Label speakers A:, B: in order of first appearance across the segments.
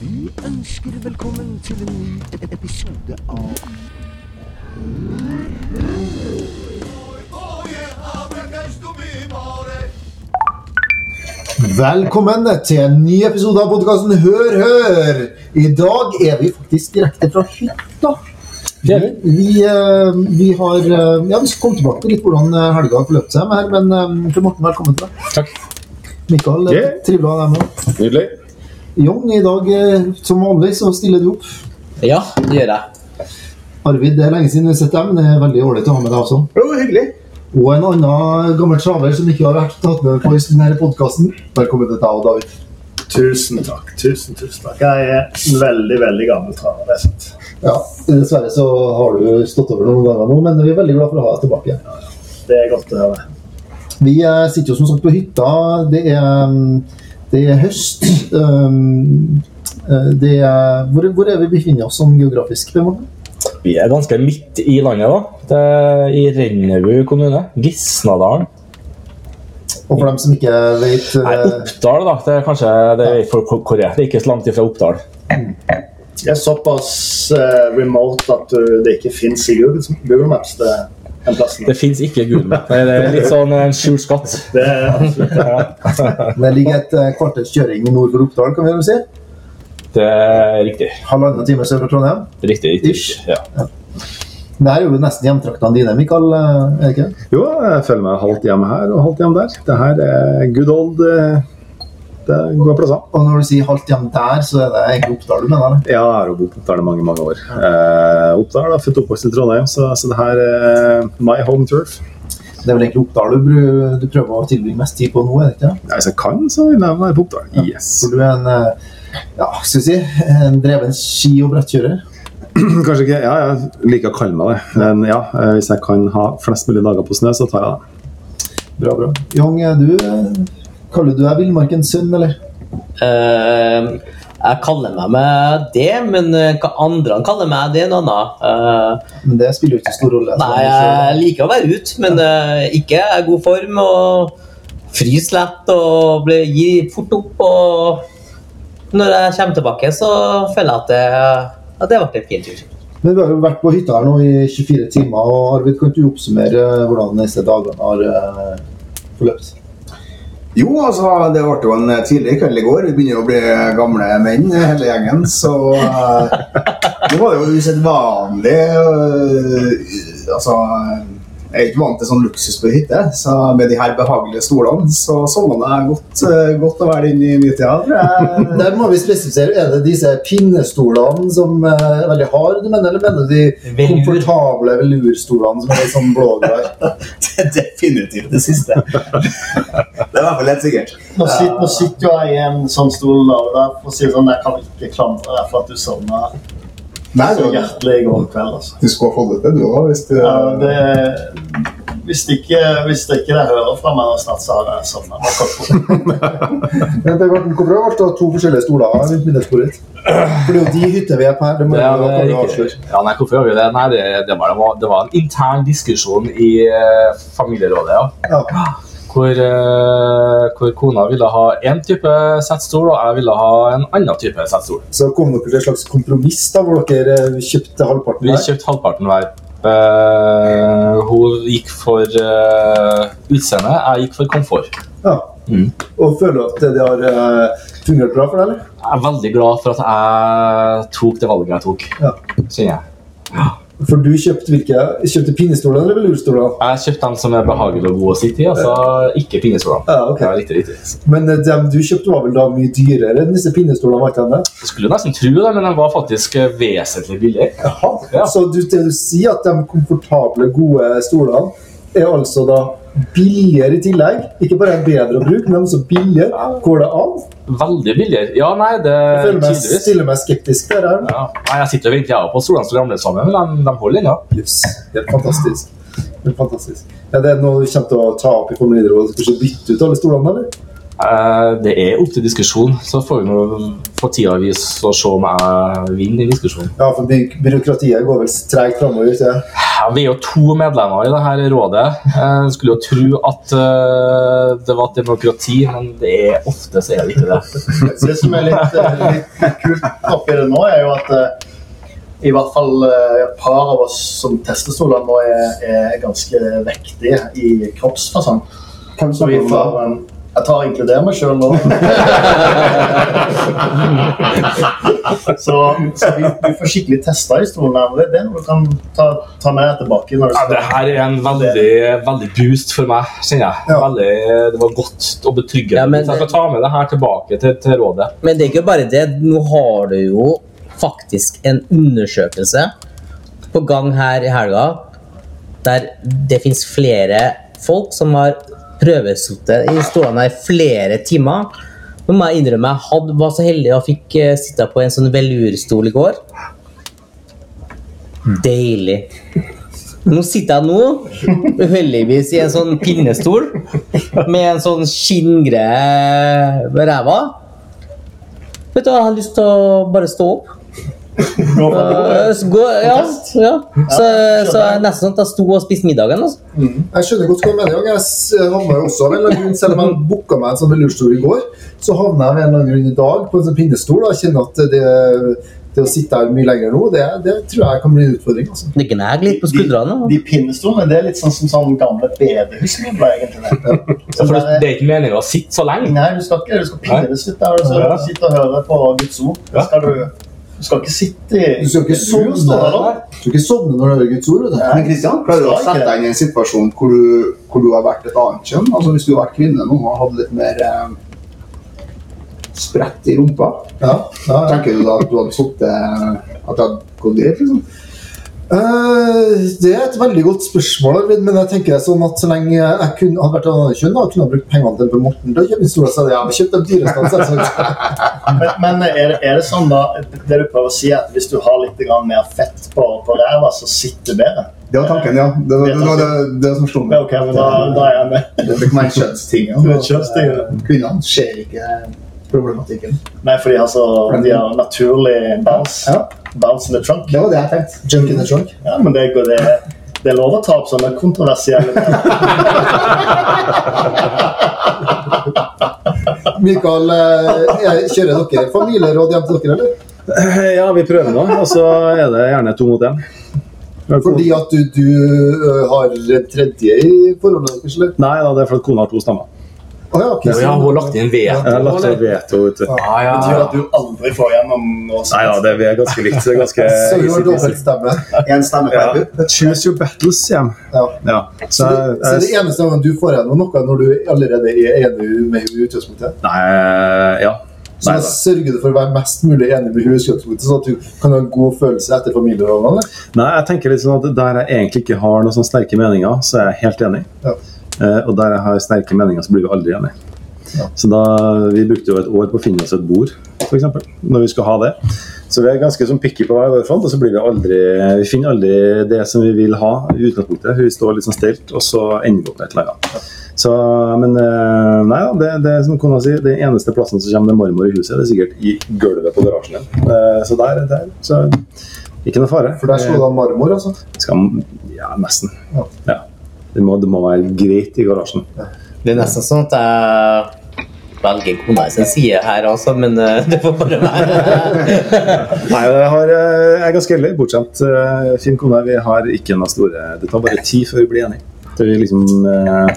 A: Vi ønsker velkommen til en ny e- episode av
B: Velkommen til en ny episode av podkasten Hør Hør! I dag er vi faktisk direkte fra hytta. Vi, eh, vi har eh, Ja, vi skal komme tilbake til litt hvordan eh, helga forløp seg, her, men eh, Tor Morten, velkommen til deg.
C: Takk.
B: Mikael, yeah.
D: Yeah.
B: trivelig å ha deg med.
D: Nydelig.
B: Jon, i dag eh, som vanlig så stiller du opp.
C: Ja, det gjør jeg.
B: Arvid, det er lenge siden vi har sett deg, men det er veldig ålreit å ha med deg også.
D: Jo, hyggelig.
B: Og en annen gammel traver som ikke har vært tatt med på i denne podkasten. Velkommen til deg og David.
D: Tusen takk. Tusen, tusen takk. Jeg er en veldig, veldig gammel traver. det er sant.
B: Ja, Dessverre så har du stått over noen ganger nå, men vi er veldig glad for å ha deg tilbake.
D: Det er godt å høre.
B: Vi eh, sitter jo som sagt på hytta. Det er, mm, det er høst. Um, eh, det er, hvor, hvor er vi befinner oss sånn geografisk? Per Morten?
C: Vi er ganske midt i landet, da. Det er I Rennebu kommune. Gisnadalen.
B: Og for dem som ikke vet
C: Nei,
B: eh,
C: Oppdal, da. Det er kanskje det er for hvor hvor er. Det er ikke så langt ifra Oppdal.
D: Det er såpass eh, remote at du, det ikke fins i Google, Google Maps. Det er en plass.
C: Det fins ikke Google Maps. Nei, Det er litt sånn en skjult skatt.
D: Det er absolutt
C: Ja,
B: Det ligger et eh, kvarters kjøring nord for Oppdal, kan vi vel si.
C: Det er riktig.
B: Halvannen time sør for Trondheim.
C: Riktig. riktig,
B: Ish.
C: riktig. Ja.
B: Det her er jo nesten hjemtraktene dine, Mikael. eh, Er det ikke? det?
E: Jo, jeg føler meg halvt hjemme her og halvt hjemme der. Det her er good old eh, Det er gode plasser.
B: Og når du sier halvt hjem der, så er det egentlig Oppdal du mener? eller?
E: Jeg har jo bodd på Oppdal i mange mange år. Eh, Oppdal er født og oppvokst i Trondheim, så, så det her er my home turf.
B: Det er vel egentlig Oppdal du, bru- du prøver å tilbringe mest tid på nå, er det ikke? det?
E: Hvis jeg kan, så vil jeg være på Oppdal. Yes.
B: For du er en eh, ja, skal vi si, en dreven ski- og brettkjører.
E: Kanskje ikke Ja, jeg liker å kalle meg det. Men ja, eh, hvis jeg kan ha flest mulig dager på snø, så tar jeg det.
B: Bra, bra. Jong, er du eh, kaller du deg Villmarkens sønn, eller?
F: Eh, jeg kaller meg med det, men eh, hva andre han kaller meg, det er noe annet. Eh,
B: Men det spiller jo ikke så stor rolle.
F: nei, jeg liker å være ute, men eh, ikke jeg er i god form og fryser lett og blir, gir fort opp. Og når jeg kommer tilbake, så føler jeg at det, at det ble en fin tur.
B: Men vi har jo vært på hytta her nå i 24 timer, og Arvid, kan du oppsummere eh, hvordan disse dagene har eh, forløpt?
G: Jo, altså, det ble jo en tidlig kveld i går. Vi begynner jo å bli gamle menn, hele gjengen. Så eh, det var jo usedvanlig eh, Altså, jeg er ikke vant til sånn luksus på hytte, så med de her behagelige stolene så sovna jeg godt, eh, godt å være inne i midtida. tror jeg.
B: Eh, Der må vi spesifisere. Er det disse pinnestolene som eh, er veldig harde, du mener, eller mener du de
F: Velur.
B: komfortable velurstolene som er litt sånn blågrønne?
G: Det er Definitivt det siste. Det er i hvert fall helt sikkert.
D: Nå sitter, nå sitter jo jeg i en sånn stol og der, for å si det sånn, jeg kan vel ikke klandre deg for at du sovna
G: Nei,
D: så
G: du,
D: hjertelig i går kveld. altså.
G: du skulle ha fått ut det, du òg, hvis du
D: Ja, det, hvis, ikke, hvis ikke det hører fra meg nå snart, så har jeg sovna.
B: Men Per Morten, Hvorfor har du valgt å ha to forskjellige stoler rundt middagsbordet ditt? For det er jo de hytter vi er på her. Det må
C: Det
B: jeg
C: er,
B: jo kan
C: det
B: du
C: er
B: avsløre.
C: ikke, ja, nei, hvorfor gjør vi det? Nei, det, det, var, det, var, det var en intern diskusjon i eh, familierådet, ja.
B: Ja.
C: Hvor, eh, hvor kona ville ha én type settstol, og jeg ville ha en annen type settstol.
B: Så kom dere til et slags kompromiss da, hvor dere eh, kjøpte halvparten
C: Vi
B: hver.
C: kjøpte halvparten hver. Eh, hun gikk for eh, utseende, jeg gikk for komfort.
B: Ja.
C: Mm.
B: Og føler du at det har eh, fungert bra for deg, eller?
C: Jeg er veldig glad for at jeg tok det valget jeg tok.
B: Ja.
C: Kjenner jeg.
B: For du kjøpte hvilke? Kjøpte pinnestoler eller velurstoler?
C: Jeg kjøpte dem som er behagelige og gode å sitte i, altså ikke pinnestolene.
B: Ja, ok.
C: Ja, riktig, riktig.
B: Men eh, dem du kjøpte var vel da mye dyrere enn disse pinnestolene? var ikke de det?
C: Jeg skulle nesten tro det, men de var faktisk eh, vesentlig billigere.
B: Jaha.
C: Ja.
B: Så du, det du sier at de komfortable, gode stolene er altså da billigere i tillegg? Ikke bare bedre å bruke, men også billigere. Går det an?
C: Veldig billigere. Ja, nei, det
B: Jeg føler meg,
C: tydeligvis.
B: stiller meg skeptisk der. her.
C: Ja. Nei, jeg sitter og venter jeg også på at solene skal ramle sammen, men de, de holder ennå.
B: Yes. Helt fantastisk. Helt fantastisk. Er det noe du kommer til å ta opp i familierådet? Skal du bytte ut alle stolene, eller?
C: Eh, Det er opp til diskusjon. Så får vi nå partiavis og se om jeg vinner i diskusjonen.
B: Ja, for by byråkratiet går vel tregt framover.
C: Ja, vi er jo to medlemmer i dette rådet. Jeg skulle jo tro at eh, det var et demokrati, men det er ofte så er det ikke det.
D: Det som er litt, eh, litt kult oppi det nå, er jo at eh, i hvert fall eh, et par av oss som testestoler nå er, er ganske vektige i kroppsfasong.
G: Hvem
D: Så vi
G: snakker om da?
D: får en Jeg tar og inkluderer meg sjøl nå. så så vi, vi får skikkelig testa i stolen. her, og Det det er noe du kan ta, ta med tilbake. Når du
C: Ja, det her er en veldig, veldig boost for meg, kjenner jeg. Veldig, det var godt og betryggende.
F: Ja, men-
C: Så jeg skal ta med det her tilbake til, til rådet.
F: Men det er ikke bare det. Nå har du jo faktisk en undersøkelse på gang her i helga der det fins flere folk som har prøvesittet i stolene her i flere timer. Nå må jeg innrømme jeg hadde, var så heldig og fikk eh, sitte på en sånn velurstol i går. Deilig. Nå sitter jeg nå, uheldigvis, i en sånn pinnestol med en sånn skinngreie ved ræva. Vet du, hva, jeg har lyst til å bare stå opp.
D: går fra bordet.
F: Eh, så gå, ja, ja. Så, så er det nesten sånn at jeg sto og spiste middagen. Altså.
B: Jeg skjønner godt hva du mener. Jørgen. Jeg s- havna jo også av en eller annen grunn, selv om jeg booka meg en sånn velurstol i går, så havna jeg av en eller annen grunn i dag på en sånn pinnestol. og Jeg kjenner at det, det å sitte her mye lenger nå, det, det tror jeg kan bli en utfordring. altså.
F: Det gnag litt på skuldrene. altså.
D: De, de pinnestolene det er litt sånn som sånn gamle bedehusmøbler, egentlig. det.
C: Ja,
D: Sånn
C: For det,
D: der-
C: det er ikke meningen å sitte så lenge.
D: Nei, du skal ikke. Du skal pinnes litt der. og så
C: Ja.
D: Sitte og høre på Guds ord. Da
C: Ja.
D: Skal du, du skal ikke sitte i
B: Du skal ikke sovne,
D: Du står der, da.
B: du skal ikke sovne når du hører Guds ord. vet du.
G: Men Kristian, klarer du å
D: Skal ikke
G: sette deg inn i en situasjon hvor du, hvor du har vært et annet kjønn? Altså Hvis du har vært kvinne nå og hadde litt mer eh, spredt i rumpa,
B: Ja, ja, ja.
G: tenker du da at du hadde sittet eh, At det hadde gått greit? liksom?
B: Eh, det er et veldig godt spørsmål, Arvid, men jeg tenker sånn at så lenge jeg kunne, hadde vært av annet kjønn da, og kunne ha brukt pengene til Per Morten til å kjøpe pinnestol, så hadde jeg kjøpt de dyreste. selvsagt.
D: Men, men er, det- er det sånn, da Det du prøver å si, er at hvis du har litt grann mer fett på, på ræva, så sitter det bedre?
G: Det var tanken, ja. Det var det, var det, det som slo
D: Ja,
G: meg.
D: OK, men da, da er jeg med.
G: Det fikk meg en kjønnsting. ja.
D: Du er kjønnsting, ja.
G: Kvinnene ser ikke problematikken.
D: Nei, for de har så de har naturlig bounce.
G: Ja.
D: Bounce in the trunk.
G: Det var det jeg tenkte.
B: Junk in the trunk.
D: Ja, men det, går- det, det er lov å ta opp sånne kontroversielle ting.
B: Mikael, eh, jeg- kjører dere familieråd hjem til dere, eller?
E: Eh, Ja, vi prøver nå, og så er det gjerne to mot én.
B: Fordi at du, du eh, har en tredje i forholdet deres, eller?
E: Nei da, det er fordi kona har to stemmer.
B: Å ja, ok,
C: Ja,
B: så-
C: har hun lagt inn veto?
E: Jeg har lagt
C: eller?
E: av veto. vet du.
C: Ja,
D: Det betyr
C: ja.
D: at du aldri får gjennom noe
E: Nei da,
D: sånt.
E: det vi er ganske likt. Det er ganske
B: Eh, Så du har
E: easy-peasy.
B: dobbeltstemme.
G: Én stemme per pupp.
E: Ja. Choose your battles, sier de.
B: Ja.
E: Ja. Så,
B: Så, det- så det
E: jeg,
B: eneste gangen du får gjennom noe når du allerede er enig med henne i utgangspunktet?
E: nei, ja.
B: Så
E: Nei
B: jeg
E: da.
B: sørger du for å være mest mulig enig med henne i utgangspunktet, sånn at du kan ha en god følelse etter familierollene? eller?
E: Nei, jeg tenker litt sånn at Der jeg egentlig ikke har noen sånne sterke meninger, så er jeg helt enig.
B: Ja.
E: Eh, og der jeg har sterke meninger, så blir vi aldri enige. Så da, Vi brukte jo et år på å finne oss et bord, for eksempel, når vi skulle ha det. Så vi er ganske sånn picky på hver vår front, og så blir vi aldri Vi finner aldri det som vi vil ha i utgangspunktet. Vi står litt sånn stilt, og så ender vi opp med et eller annet. Så, men eh, nei da, det, det er som kona sier, det eneste plassen som kommer det marmor i huset, det er sikkert i gulvet på garasjen din. Eh, så der, der. Så ikke noe fare.
B: For der slo de marmor, altså.
E: Skal, ja, nesten.
B: Ja.
E: Ja. Det, må, det må være greit i garasjen.
F: Det er nesten sånn at jeg velger kona i sin side her, altså, men eh, det får bare være.
E: Nei, jeg, har, eh, jeg er ganske heldig, bortsett eh, fin kone. Vi har ikke noe store Det tar bare tid før vi blir enige. Til vi liksom eh,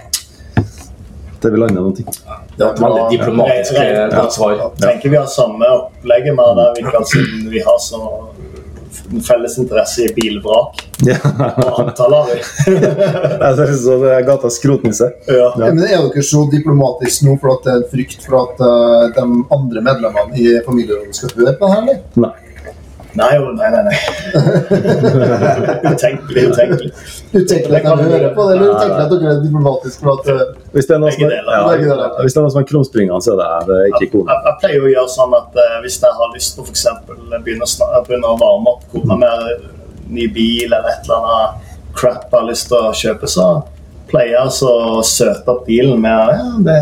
E: Til vi lander noen ting.
C: Det var et veldig diplomatisk eh, godt svar.
D: Jeg tenker vi har samme opplegget med det, Mikael, siden vi har så felles interesse i bilvrak.
E: Ja.
D: Og antallet av dem.
E: Jeg ser ut som det er gatas skrotnisse.
D: Ja.
E: Ja.
B: Men er dere så diplomatiske nå for at det er en frykt for at eh, de andre medlemmene i familierollene skal høre på det her, eller?
E: Nei.
D: Nei, jo, nei, nei. nei. utenkelig, utenkelig.
B: Du tenker at de hører på det, eller du tenker at dere er diplomatiske for at eh,
E: Hvis det er noen som er,
D: Begge deler.
E: ja,
B: Begge deler.
E: hvis det er noen som er krumspringende, så er det, det er ikke kona.
D: Jeg, jeg pleier jo å gjøre sånn at eh, hvis jeg har lyst på f.eks. Begynne, å sna- begynne å varme opp kona med ny bil eller et eller annet crap jeg har lyst til å kjøpe, så pleier jeg altså å søte opp bilen med ja, det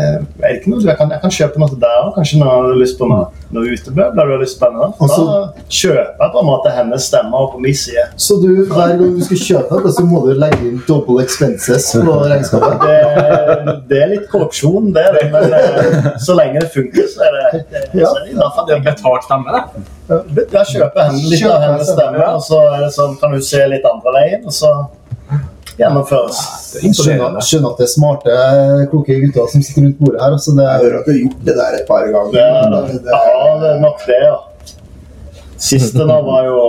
D: er ikke noe, jeg, kan, jeg kan kjøpe noe til deg òg, kanskje når du har lyst på noe. noe utebøbler. Det er litt spennende. Da
B: Altså-
D: kjøper jeg på en måte hennes stemmer på min side.
B: Så du, hver gang du skal kjøpe det, så må du legge inn double expenses på regnskapet?
D: Det, det er litt korrupsjon, det, er det, men eh, så lenge det funker, så er det, det,
B: Ja.
D: så er det i hvert fall
C: Det er betalt stemme, det.
D: Jeg kjøper henne litt
B: Kjøper
D: av hennes
B: stemmen,
D: stemme, og så er det sånn, kan hun se litt andre veien, og så gjennomføres.
B: Skjønner, skjønner at det er smarte, kloke gutter som sitter rundt bordet her. Altså det
G: Jeg
B: er
G: hører at du har gjort det der et par ganger.
D: Det er,
G: men det- det-
D: jeg har nok det, ja. Siste nå var jo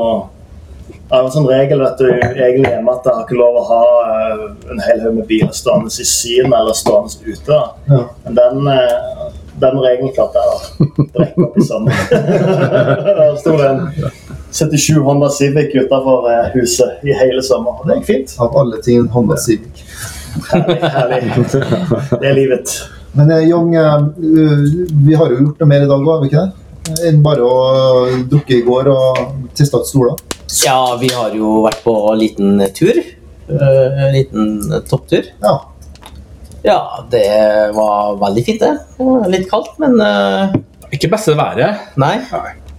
D: Jeg har en sånn regel vet du, egentlig hjemme at jeg har ikke lov å ha eh, en hel haug med biler stående i Syden eller stående ute. da.
B: Ja.
D: Men den, eh, den regelen klarte jeg å brekke opp i sommer. Da sto det en 77 Honda Civic utafor huset i hele sommer, og det gikk fint.
B: av alle ting en Honda Civic.
D: Herlig. Det er livet.
B: Men eh, Young, eh, vi har jo gjort noe mer i dag òg, har vi ikke det? Enn bare å dukke i går og teste ut stoler.
F: Ja, vi har jo vært på en liten tur. Eh, En liten topptur.
B: Ja.
F: Ja, det var veldig fint, det. Det var Litt kaldt, men eh,
C: Ikke beste været.
F: Nei.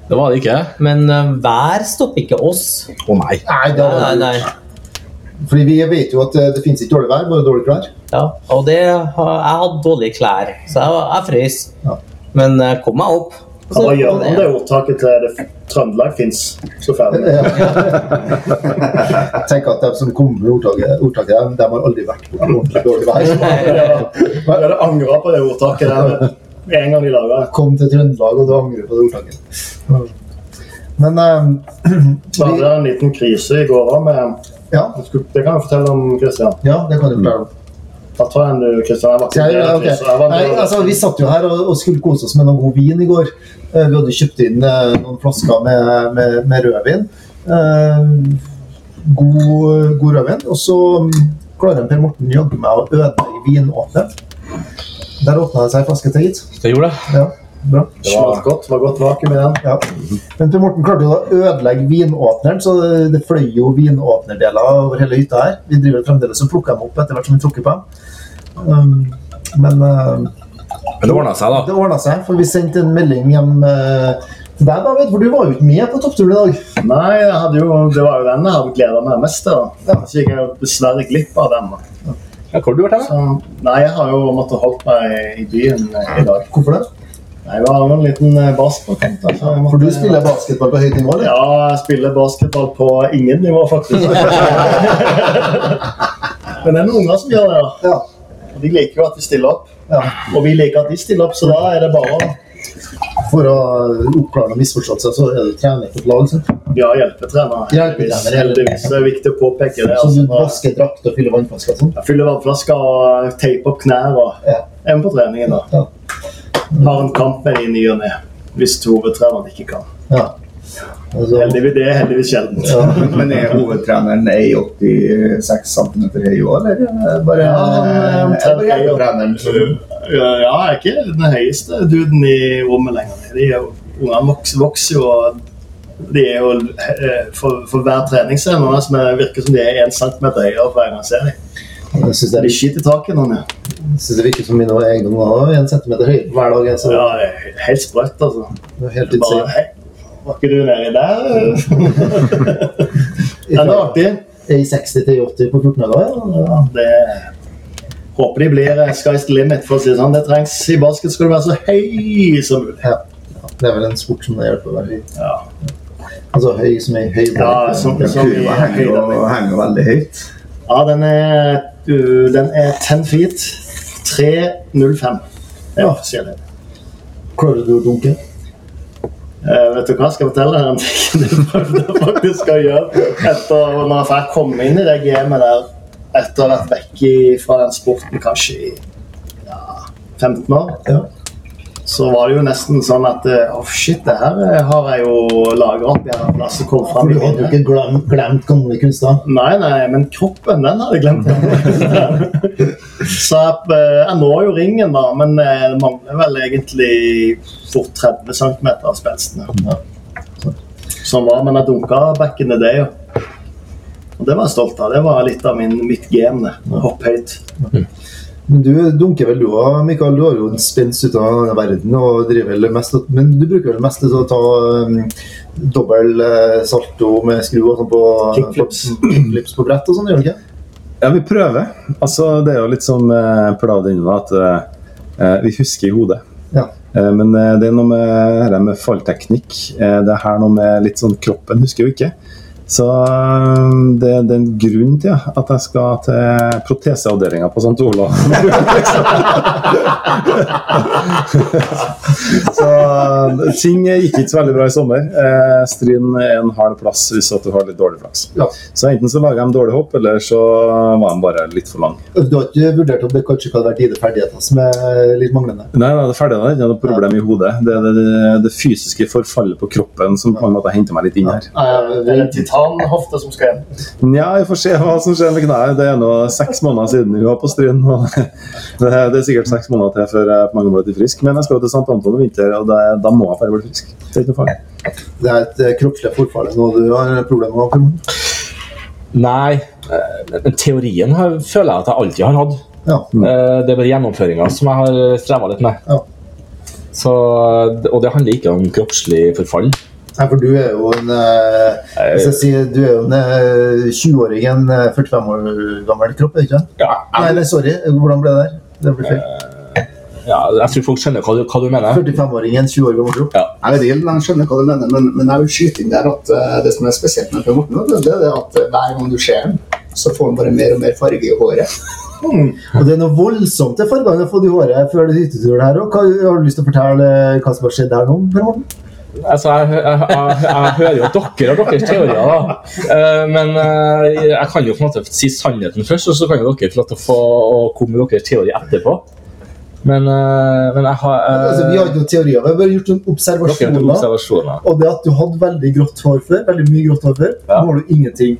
C: Det var det ikke.
F: Men eh, vær stopper ikke oss. Eh,
C: Å nei.
B: Nei, det
F: Nei,
B: har
F: nei,
B: vi
F: nei.
B: gjort. Fordi vi vet jo at eh, det finnes ikke dårlig vær, bare dårlige klær.
F: Ja, og det har- Jeg hadde dårlige klær, så jeg, jeg frøs.
B: Ja.
F: Men eh, kom meg opp. Og
D: Hva
F: så-
D: gjør man det ordtaket til det Trøndelag fins? Så ferdig.
B: Jeg tenker at de som kommer med ordtaket, ordtaket de, de har aldri vært på ordentlig dårlig vær.
D: Jeg hadde angra på det ordtaket der med en gang de laga det.
B: Kom til Trøndelag, og du angrer på det ordtaket. Men eh,
D: Så hadde jeg en liten krise i går òg med
B: ja,
D: Det kan jeg fortelle om, Christian.
B: ja, det kan du fortelle om.
D: Da tar jeg en du, Christian. Jeg
B: Ja, ja,
D: var ikke med i den
B: ok.
D: krisen. Jeg var
B: Nei,
D: med-
B: altså, vi satt jo her og, og skulle kose oss med noe god vin i går. Eh, Vi hadde kjøpt inn eh, noen flasker med, med, med rødvin. Eh, god, god rødvin. Og så mm, klarer Per Morten jaggu meg å ødelegge vinåpnet. Der åpna det seg en flaske til, gitt.
C: Det gjorde det.
B: Ja, bra.
D: Det var godt, det var godt vakuum i den.
B: Ja. Men Per Morten klarte jo da å ødelegge vinåpneren, så det- det fløy jo vinåpnerdeler over hele hytta her. Vi driver fremdeles og plukker dem opp etter hvert som vi tråkker på dem. Um, men eh,
C: Men det ordna seg, da.
B: det ordna seg, for vi sendte en melding hjem eh, til deg, David. For du var jo ikke med på toppturen i dag.
D: Nei, jeg hadde jo, det var jo den jeg hadde gleda meg mest til. da. Så gikk jeg jo dessverre glipp av den. da.
C: Ja, hvor har du vært hen? da?
D: Så, nei, jeg har jo måttet holdt meg i byen eh, i dag.
B: Hvorfor det?
D: Nei, Det var jo en liten eh, basket. da, så jeg måtte-
B: For du spiller basketball på høyt nivå, eller?
D: Ja, jeg spiller basketball på ingen nivå, faktisk. Men det er noen unger som gjør det. da.
B: Ja.
D: De liker jo at vi stiller opp.
B: Ja.
D: Og vi liker at de stiller opp, så da er det bare å
B: For å oppklare noen misforståelser, så er du trener på et lag. sant?
D: Vi har hjelpetrener. Heldigvis.
B: Hjelpetrener,
D: heldigvis. Det er viktig å påpeke det.
B: Så du
D: Altså,
B: vasker drakt og fyller vannflasker og sånn.
D: jeg fyller vannflasker og teiper opp knær. og
B: Ja.
D: er med på treningen. da.
B: Ja.
D: Har en kamp med de i ny og ne. Hvis hovedtreneren ikke kan.
B: ja. Altså,
D: Heldigvis, det er heldigvis sjeldent.
B: ja.
G: Men er hovedtreneren 1,86 cm høy òg, eller? er det Bare
D: Ja, han er omtrent
G: Er det bare hjelpetreneren som-
D: Ja, ja, jeg er ikke den høyeste duden i rommet lenger. De er jo, ungene vokser, vokser jo, og de er jo eh, for, for hver trening så er det noen som er- virker som de er én centimeter høyere for hver gang jeg ser dem.
B: Jeg syns det,
D: De skiter i taket nå. ja.
B: er- synes det virker som mine egne unger er en centimeter høye hver dag. jeg, Så
D: Ja, det er helt sprøtt, altså.
B: det er helt
D: Det er Bare,
B: insane.
D: hei, var ikke du nedi der? Men det er
B: Fra
D: artig.
B: A60 til A80 på 14 dager. Ja.
D: Ja, det Håper de blir eh, sky's the limit, for å si det sånn. Det trengs. I basket skal du være så høy som mulig.
B: Ja. Ja, Det er vel en sport som det hjelper å være høy.
D: Ja.
B: Altså høy som i høy.
D: Ja, sånn, som, som i
G: Kurva henger jo henger jo veldig høyt.
D: Ja, den er, uh, den er 10 feet. 305. Det er offisiell.
B: Klarer du å dunke?
D: Eh, vet du hva, skal jeg fortelle deg en ting du prøvde faktisk å gjøre etter når jeg kom inn i det gamet der etter å ha vært vekk i- fra den sporten kanskje i ja, 15 år,
B: Ja.
D: så var det jo nesten sånn at eh, oh shit, det her eh, har jeg jo lagra opp igjen. La oss komme
B: For
D: fram
B: du
D: i
B: hadde jo
D: minnet.
B: ikke glemt, glemt gamle kunster.
D: Nei, nei, men kroppen den hadde jeg glemt. så jeg, eh, jeg når jo ringen, da, men eh, det mangler vel egentlig fort 30 cm av spenstene. Sånn var men jeg dunka back in the day. jo. Og det var jeg stolt av. Det var litt av min, mitt gen. det. Hopp høyt.
B: Men du eh, dunker vel du òg, Mikael. Du har jo en spenst ut av denne verden. og driver vel mest, Men du bruker vel mest til å ta um, dobbel eh, salto med skru og sånn på
D: Kickflips.
B: på- kickflips på brett og sånn, gjør du ikke?
E: Ja, vi prøver. Altså, det er jo litt som eh, Per David innva, at eh, vi husker i hodet.
B: Ja.
E: Eh, men eh, det er noe med, det her med fallteknikk. Eh, det er her noe med litt sånn kroppen husker jo ikke. Så eh, det, det er en grunn til ja, at jeg skal til proteseavdelinga på St. Olav. så eh, ting gikk ikke så veldig bra i sommer. Eh, Stryn er en hard plass hvis at du har litt dårlig flaks.
B: Ja.
E: Så enten så laga de dårlig hopp, eller så var de bare litt for lang.
B: Du har ikke vurdert om det kanskje kan være dine ferdigheter som er eh, litt manglende?
E: Nei, nei, det er ferdig, det er ikke noe problem i hodet. Det er det, det fysiske forfallet på kroppen som på en måte henter meg litt inn her.
D: Er det en titanhofte som skal inn?
E: Nja, vi får se hva som skjer med kneet. Det er nå seks måneder siden vi var på Stryn. og Det det er sikkert seks måneder til før jeg på mange måter blir frisk. Men jeg skal jo til St. Anton i vinter, og det, da må jeg bare bli frisk. Det er ikke noe farlig.
B: Det er et eh, kroppslig forfall noe du har problemer med? Karl.
C: Nei, eh, men teorien her føler jeg at jeg alltid har hatt.
B: Ja.
C: Eh, Det er bare gjennomføringa som jeg har streva litt med.
B: Ja.
C: Så, eh, og det handler ikke om kroppslig forfall.
B: Nei, for du er jo en eh, Hvis jeg sier du er jo en eh, 20-åring, en eh, 45 år gammel kropp, er du ikke det?
C: Ja,
B: Nei,
C: jeg,
B: nei, sorry. Hvordan ble det der? Det ble feil.
C: Eh. ja, jeg tror folk skjønner hva du, hva du mener.
B: 45-åringen, 20 år gammel kropp.
G: Jeg vet ikke om de skjønner hva du mener, men, men jeg vil skyte inn der at eh, det som er spesielt med Per Morten, vet du, det er det at eh, hver gang du ser ham, så får han bare mer og mer farge i håret.
C: Mm.
B: Og det er noe voldsomt det fargene du har fått i håret før den hytteturen her òg. Har du lyst til å fortelle eh, hva som har skjedd der nå? Per Morten?
C: Altså, jeg, jeg, jeg, jeg hører jo at dere har deres teorier, da. Eh, Men eh, jeg kan jo på en måte si sannheten først, og så kan jo dere få lov til å få å komme med deres teori etterpå. Men, eh, men jeg har eh,
B: Altså, vi har ikke noen teorier, vi har bare gjort noen
C: dere har gjort
B: observasjoner.
C: observasjoner.
B: Og det at du hadde veldig grått hår før, veldig mye grått hår før,
C: Ja.
B: nå har du ingenting.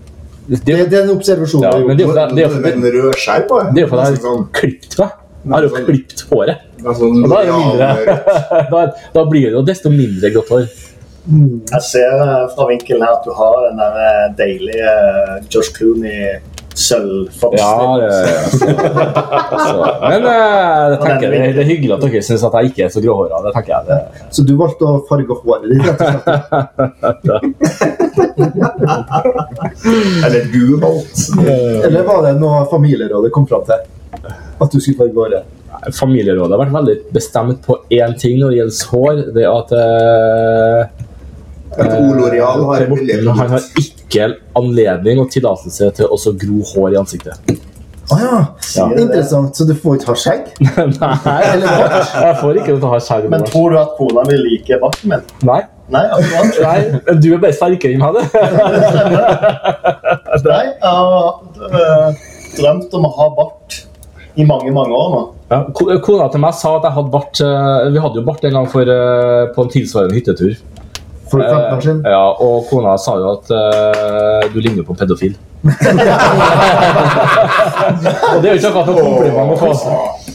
B: Det,
C: Det,
B: det er en observasjon. vi
C: ja,
B: har
C: men
B: gjort.
C: det er jo fordi- det er jo
G: Nå
C: fordi-
G: med en rød skjerm på.
C: det er jo fordi jeg
G: Nesten
C: har
G: sånn-
C: klippet meg. Jeg har jo klippet håret.
G: nesten sånn
C: Og da er det mindre.
G: loreal-
C: da, da blir det jo desto mindre grått hår.
D: Jeg ser eh, fra vinkelen her at du har den der eh, deilige eh, Josh Clooney sølvfoksen.
C: Men eh, det, tenker,
D: Og den er
C: jeg- det, det er hyggelig at dere syns at jeg ikke er så gråhåra. Det tenker jeg. Det.
B: Så du valgte å farge håret ditt? rett og slett.
G: Eller du valgte.
B: Eller var det noe familierådet kom fram til? At du skulle farge håret?
C: Familierådet har vært veldig bestemt på én ting når det gjelder hår. Det er at eh,
G: At Oloreal Eh, har
C: Per
G: en billig
C: Morten han har ikke anledning og tillatelse til å så gro hår i ansiktet.
B: Å ja. Interessant. Så du får ikke ha skjegg?
C: Nei, jeg får ikke lov til å ha skjerm.
D: Men
C: Lars.
D: tror du at kona vil like barten min?
C: Nei,
D: Nei, akkurat.
C: nei, men du er bare sterkere enn meg, du.
D: Nei, jeg har eh, drømt om å ha bart i mange, mange år nå.
C: Ja, ko- kona til meg sa at jeg hadde bart eh, Vi hadde jo bart en gang for, eh, på en tilsvarende hyttetur.
B: For 15 år siden?
C: Eh, ja, og kona sa jo at eh, du ligner på en pedofil. og det er jo ikke akkurat noe kompliment å få.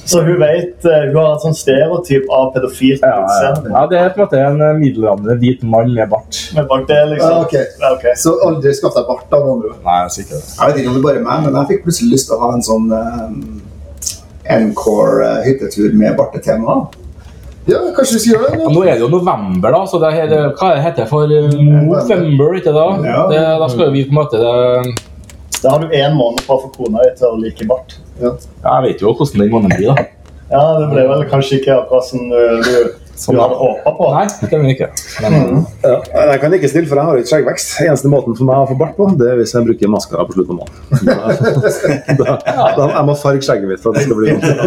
D: Så hun vet eh, Hun har et sånn stereotyp av pedofilt
C: Ja, ja.
D: utseende.
C: ja, det er på en måte en eh, middelaldrende hvit mann med bart.
D: Men bak det,
B: Ja,
D: liksom.
B: ok.
D: Ja, ok.
B: Så aldri skaff deg bart av noen andre.
C: Nei, sikkert.
G: Eh, Jeg vet ikke om det er bare meg, men jeg fikk plutselig lyst til å ha en sånn eh, Encore-hyttetur med bartetema.
B: Ja, kanskje du skal gjøre det? nå?
C: Nå er det jo november, da, så det her, eh, hva heter det for eh, Movember? Ikke da?
G: Ja.
C: Det, da skal jo vi på en måte eh,
D: Da har du én måned på å få kona di til å like bart.
C: ja, Jeg vet jo hvordan den måneden blir, da.
D: Ja, Det ble vel kanskje ikke akkurat som du, du, du hadde håpa på.
C: Nei, det kan vi ikke. Men,
E: Ja, jeg kan ikke stille, for jeg har ikke skjeggvekst. Eneste måten for meg å få bart på, det er hvis jeg bruker maskara på slutten av måneden. Da, da, da, jeg må farge skjegget mitt for at det skal bli ordentlig.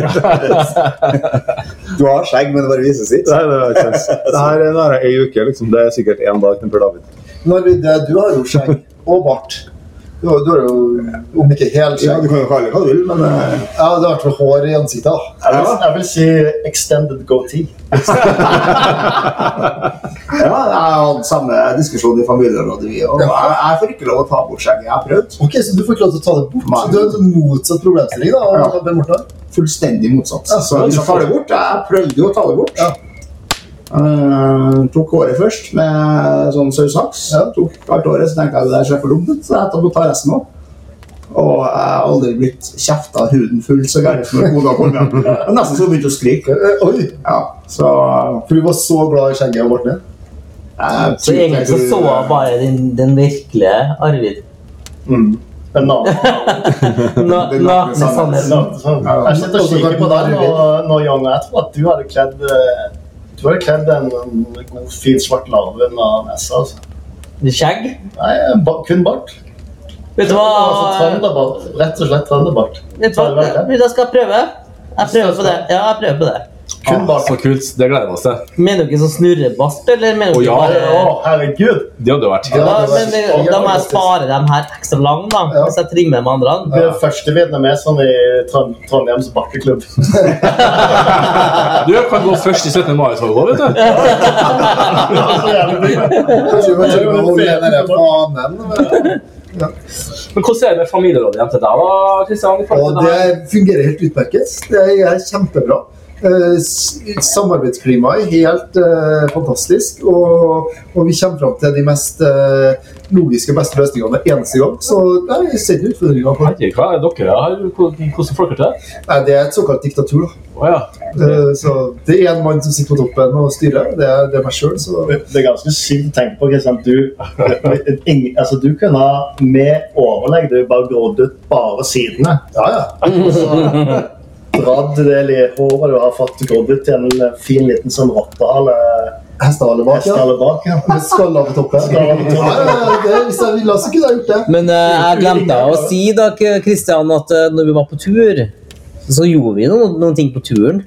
G: Du har skjegg, men det bare vises ikke.
E: Nei, det er ikke sant. Det her nå har jeg ei uke, liksom. Det er sikkert én dag til Per David.
B: Narvid, du har jo skjegg og bart. Du har, du har jo om ikke hel
G: Ja,
B: skjegg.
G: du kan jo kalle det hva du vil, men eh,
B: Ja, du har i hvert fall hår i ansiktet. da.
D: Jeg vil, jeg vil si extended goatee.
G: ja, jeg har hatt samme eh, diskusjon i familierådet, vi òg. Jeg, jeg får ikke lov å ta bort skjegget. Jeg har prøvd.
B: Ok, Så du får ikke lov til å ta det bort? Så du har en sånn motsatt problemstilling? da,
G: Ja.
B: av Ben Morten har.
G: Fullstendig motsatt.
B: Ja,
G: Så hvis jeg tar det bort Jeg prøvde jo å ta det bort.
B: Ja.
G: Eh, tok håret først med sånn sausaks. Tok alt håret, så tenkte jeg det der ser for dumt ut, så jeg tar- tar resten òg. Og jeg har aldri blitt kjefta huden full så gærent som når kona kom hjem. Det var nesten så hun begynte å skrike.
B: Eh, Oi!
G: Ja, så
B: For du var så glad i skjegget og barten din?
G: jeg
F: Så
G: tror
F: egentlig så
G: du-
F: så jeg bare den, den virkelige Arvid.
D: Men navnet-
F: Na-
G: Den nakne
F: Nakne
G: sannheten.
F: sannheten.
D: navnet sånn. Jeg sitter og kikker på deg når- når Young og jeg tror at du hadde kledd eh, du hadde kledd en en god, fin svart larve av nesa. altså.
F: Skjegg.
D: Nei, ba, kun bart.
F: Vet du
D: Altså
F: hva?
D: Trønderbart. Rett og slett trønderbart.
F: Vet du hva? Vet du, jeg skal prøve. Jeg prøver på det. Ja, jeg prøver på det.
D: Kun
C: Ah,
D: bart.
C: så kult. Det gleder vi oss til.
F: Mener dere som snurrebart, eller mener dere
C: Å, ja,
F: bare
D: Å, herregud!
C: Det hadde vært
F: Ja,
D: det var-
F: men det, Da må jeg spare dem her ekstra lang, da.
B: Ja.
F: Hvis jeg trimmer med andre.
D: Du er første vietnameseren sånn i Trond Trondheims bakkeklubb.
C: Du kan gå først i 17. mai-toget, vet du.
D: Så jævlig mye.
B: Kanskje vi til og med holder den der fanen?
C: Men hvordan er det med familierådet hjem til deg, da, Kristian? i forhold
B: Og
C: til det her?
B: det fungerer helt utmerket. Det er kjempebra. Eh, s- Samarbeidsklimaet er helt eh, fantastisk, og, og vi kommer fram til de mest eh, logiske beste løsningene hver eneste gang. Så nei, jeg ser ikke utfordringer på det.
C: Herregud, hva er det dere har? Hvordan hvordan får dere til det?
B: Nei, det er et såkalt diktatur. da.
C: Å ja.
B: Eh, Så det er en mann som sitter på toppen og styrer. Det er, det er meg sjøl, så
D: Det er ganske sykt å tenke på. Ikke sant? Du, ingen, altså, du kunne ha med overlegg du bare grodd ut bare sidene.
B: ja, ja.
D: Og så dratt det lille håret du har fått grodd ut til en fin liten sånn rottehale
B: Hestehale bak, ja.
D: hestehale bak. Ja.
B: Med skaller på toppen. Ja,
D: Skaller på toppen.
B: ja, ja, det, hvis jeg ville, så kunne jeg gjort det.
F: Men eh, jeg glemte å si da, Kristian, at eh, når vi var på tur, så gjorde vi noen, noen ting på turen.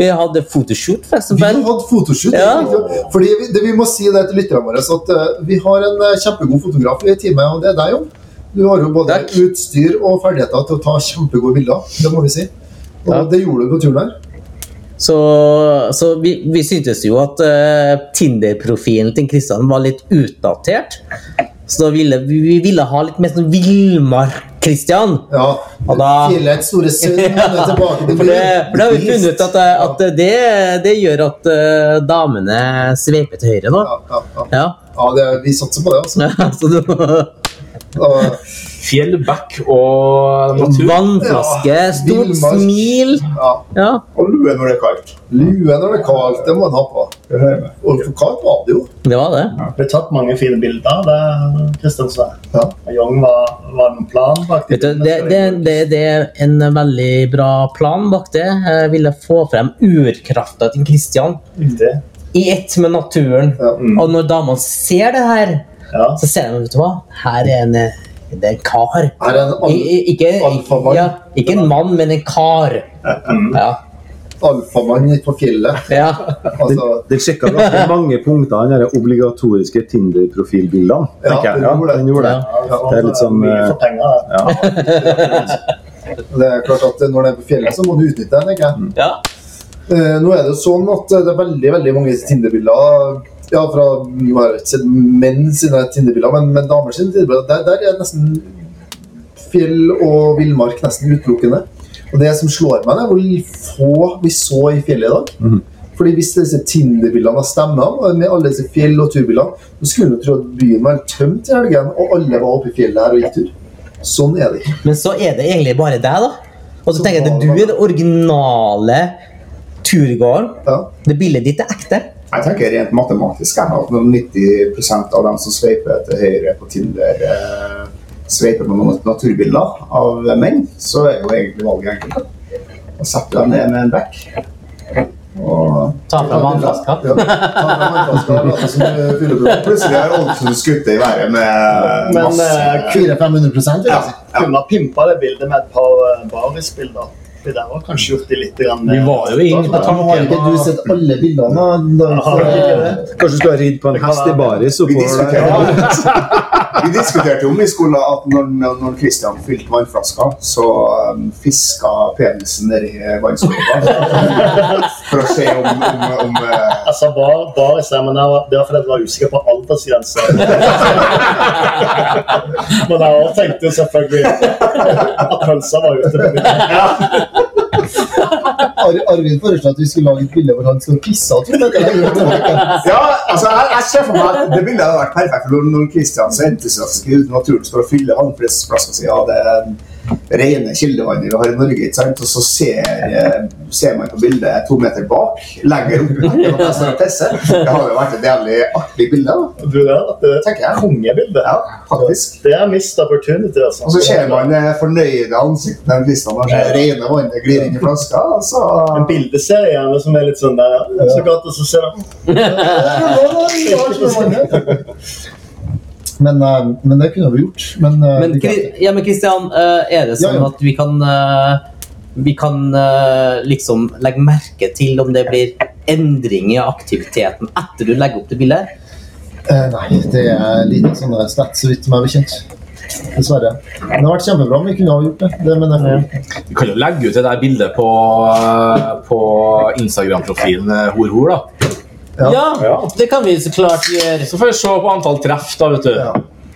F: Vi hadde fotoshoot,
B: Vi
F: for
B: har
F: eksempel.
B: hatt fotoshoot.
F: Ja.
B: egentlig. Fordi vi, det, vi må si det til lytterne våre, så at eh, vi har en eh, kjempegod fotograf i teamet, og det er deg, Jon. Du har jo både
F: Takk.
B: utstyr og ferdigheter til å ta kjempegode bilder. Det må vi si. Og
F: Takk.
B: det gjorde du på turen her.
F: Så, så vi, vi syntes jo at eh, Tinder-profilen til Kristian var litt utdatert. Så da ville, vi, vi ville ha litt mer sånn villmark-Kristian.
B: Ja.
F: Og da-
B: Fjellets store sund, han er tilbake til
F: For det,
B: byen.
F: for det har vi funnet ut at, eh, at det, det gjør at eh, damene sveiper til høyre nå.
B: Ja, ja, ja.
F: Ja,
B: ja det, vi satser på det, altså.
F: så du
B: Og-
C: Fjell, bekk og natur.
F: Vannflaske, stort
B: villmark.
F: smil.
B: ja.
F: Ja.
G: Og lue når det er kaldt.
B: Lue når det er kaldt, det må en ha på.
G: Det hører jeg med.
B: Og for kaldt var det jo.
F: Det var det.
D: Det ble tatt mange fine bilder av det, Kristian sa.
B: Ja.
D: Og Young var, var en plan bak de
F: Vet du, det,
D: bildene.
F: det, det, det er en veldig bra plan bak det. Jeg ville få frem urkrafta til Kristian
D: Riktig.
F: i ett med naturen.
B: Ja.
F: Og når damene ser det her,
D: Ja.
F: så ser de vet du hva, her er en, eh, det er en kar.
B: Her er en al
F: I, i, ikke,
B: Alfamann.
F: ja, ikke en mann, men en kar. Ja.
B: alfamann ute på fjellet.
F: ja.
B: Altså,
E: Den sjekka ganske mange punkter, den der obligatoriske Tinder-profilbildene.
B: Ja,
E: tenker jeg.
B: den gjorde det.
E: den gjorde det. Det er litt sånn,
D: Mye for penger. da.
E: Ja,
B: eh, det er klart at når det er på fjellet, så må du utnytte det, tenker jeg.
F: ja.
B: Eh, nå er det jo sånn at eh, det er veldig veldig mange Tinder-bilder ja, fra nå har jeg ikke sett menn sine Tinder-bilder, men, men damer sine Tinder-bilder. Der, der er nesten fjell og villmark nesten utelukkende. Og det som slår meg, det er hvor få vi så i fjellet i dag. Fordi Hvis disse Tinder-bildene stemmer, og med alle disse fjell- og turbildene, så skulle man tro at byen var helt tømt i helgen, og alle var oppe i fjellet her og gikk tur. Sånn er det ikke.
F: Men så er det egentlig bare deg, da. Og så tenker jeg at du er det originale turgåeren.
B: Ja.
F: Det bildet ditt er ekte.
G: Jeg tenker rent matematisk jeg, at når 90 av dem som sveiper til høyre på Tinder, eh, sveiper på noen naturbilder av menn, så er jo egentlig valget enkelt. Og setter dem ned med en bekk. Og
F: Ta fra vannflaska.
B: Ja. Ta med vannflaska, late som du er fyllebror.
G: plutselig er Ålesund skutt i været med
D: Men,
G: masse
D: eh,
B: 400-500 vil jeg
G: Ja.
B: si.
D: Kunne ha pimpa det bildet med et par eh, barisbilder. Det der var kanskje gjort i litt grann, eh,
C: Vi var jo inne på
B: Nå har
C: tanken
B: ikke du sett alle bildene. da,
D: Har du ikke det?
B: så-
E: Kanskje du skal ridde på en
D: kan
E: hest i
D: være.
E: baris og
G: Vi
E: få
G: diskuterte, vi diskuterte om vi skulle at når, når Christian fylte vannflaska, så um, fiska penisen nedi vannskorpa for å se om, om, om eh,
D: Altså, bar, baris der, men det var, det var fordi jeg var usikker på aldersgrensa. men jeg også tenkte selvfølgelig at pølsa var ute. på middag.
B: Ar Arvid foreslo at vi skulle lage et bilde hvor han skal pisse. Tror jeg.
G: Ja, altså, jeg, jeg ser for meg at det bildet hadde vært perfekt for når Kristian så entusiastisk ut i naturen står og fyller vannflaska si av det rene kildevannet vi har i Norge, ikke sant? og så ser, eh, ser man på bildet to meter bak, lenger opp i bakken, og står og pisser. Det hadde jo vært et jævlig artig bilde, da,
D: Du, det er et eh,
G: tenker jeg.
D: kongebilde.
G: Ja, faktisk.
D: Det er missed opportunity, altså.
G: Og så ser man det fornøyde ansiktet til Kristian når det rene vannet glir inn i flaska. altså. og
D: En
G: så-
D: bildeserie gjerne som er litt sånn der ja. Så godt, og så ser man
B: Men, eh, men det kunne vi gjort. Men, eh,
F: Men,
B: det kan
F: Kri- ja, men Christian, eh, er det
B: Ja,
F: sånn
B: ja.
F: at vi kan eh, Vi kan eh, liksom legge merke til om det blir endring i aktiviteten etter du legger opp det bildet?
B: Eh, nei, det er litt sånn stats, så vidt meg bekjent. Dessverre. Det hadde vært kjempebra om vi kunne ha gjort det. det men jeg, får-
C: Du kan jo legge ut det der bildet på, eh, på Instagram-profilen eh, Horhor, da.
B: Ja.
E: Ja.
F: det kan vi så klart gjøre.
C: Så får vi se på antall treff, da, vet du.
B: ja.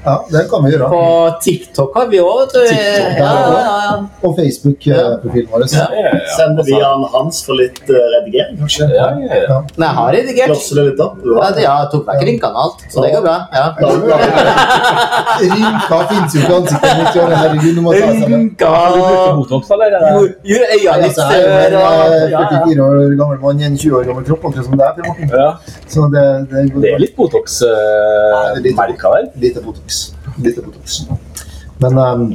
B: ja, det kan vi gjøre.
F: På TikTok har vi òg, vet du.
C: TikTok,
F: Ja, Ah, ja, ja.
B: Og Facebook-profilen vår.
F: Ja.
C: Ja, ja, ja.
D: Sender vi
G: Altså-
D: Jan Hans for litt eh, redigering, kanskje?
C: Ja, ja, ja.
F: Men jeg har redigert.
D: Klosser det litt opp? Du
F: Ja,
D: har
F: det-
D: det.
F: ja, jeg tok vekk rynkene og alt, så det går bra. Ja.
B: Rynka fins jo ikke i ansiktet mitt. Jørgen. Herregud, du må ta deg sammen.
C: Har du brukt
F: Rynker
C: Botox, eller?
F: Gjorde gjorde øynene litt
B: Altså, jeg er
F: større.
B: jo en eh,
F: og- Ja, ja.
B: 44 år gammel mann i en 20 år gammel kropp, akkurat som deg. Per Morten.
C: Ja.
B: Så det, det,
C: Det er litt
B: det er litt-
C: Botox-merka der.
B: lite Botox. Lite botox. Men ehm,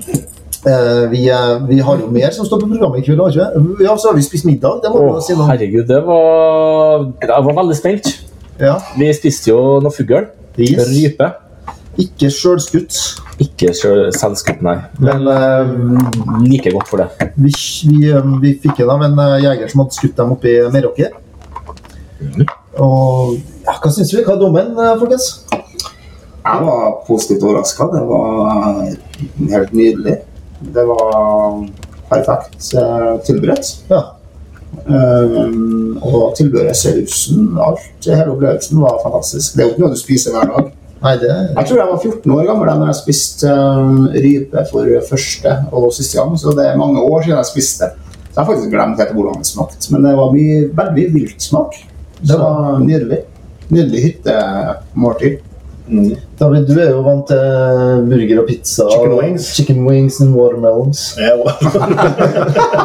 B: eh, vi, eh, vi har jo mer som står på programmet i kveld. har vi ikke det? Ja, så har vi spist middag. Det må vi
C: Å,
B: jo si noe om.
C: herregud, det var Jeg var veldig spent.
B: Ja.
C: Vi spiste jo noe fugl.
B: Yes.
C: Rype.
B: Ikke sjølskutt,
C: Ikke sjø- selvskutt, nei.
B: men eh,
C: Like godt for det.
B: vi, vi, eh, vi fikk en av en eh, jeger som hadde skutt dem oppe i Meråker. Og ja, hva syns vi? Hva er dommen, eh, folkens?
G: Jeg var positivt overraska. Det var eh, helt nydelig. Det var perfekt eh, tilberedt.
B: Ja.
G: Um, og tilbehøret, sausen, alt. Hele opplevelsen var fantastisk. Det er jo ikke noe du spiser hver dag.
B: Nei, det
G: Jeg tror jeg var 14 år gammel da når jeg spiste um, rype for første og siste gang. Så det er mange år siden jeg spiste. Så jeg har faktisk glemt helt hvordan det smakte. Men det var mye, veldig viltsmak.
B: Det
G: Det var nydelig. Nydelig hyttemåltid.
B: David, du er jo vant til eh, burger og pizza.
D: Chicken
B: og-
D: wings.
B: Chicken wings and watermelons.
D: Ja, wow.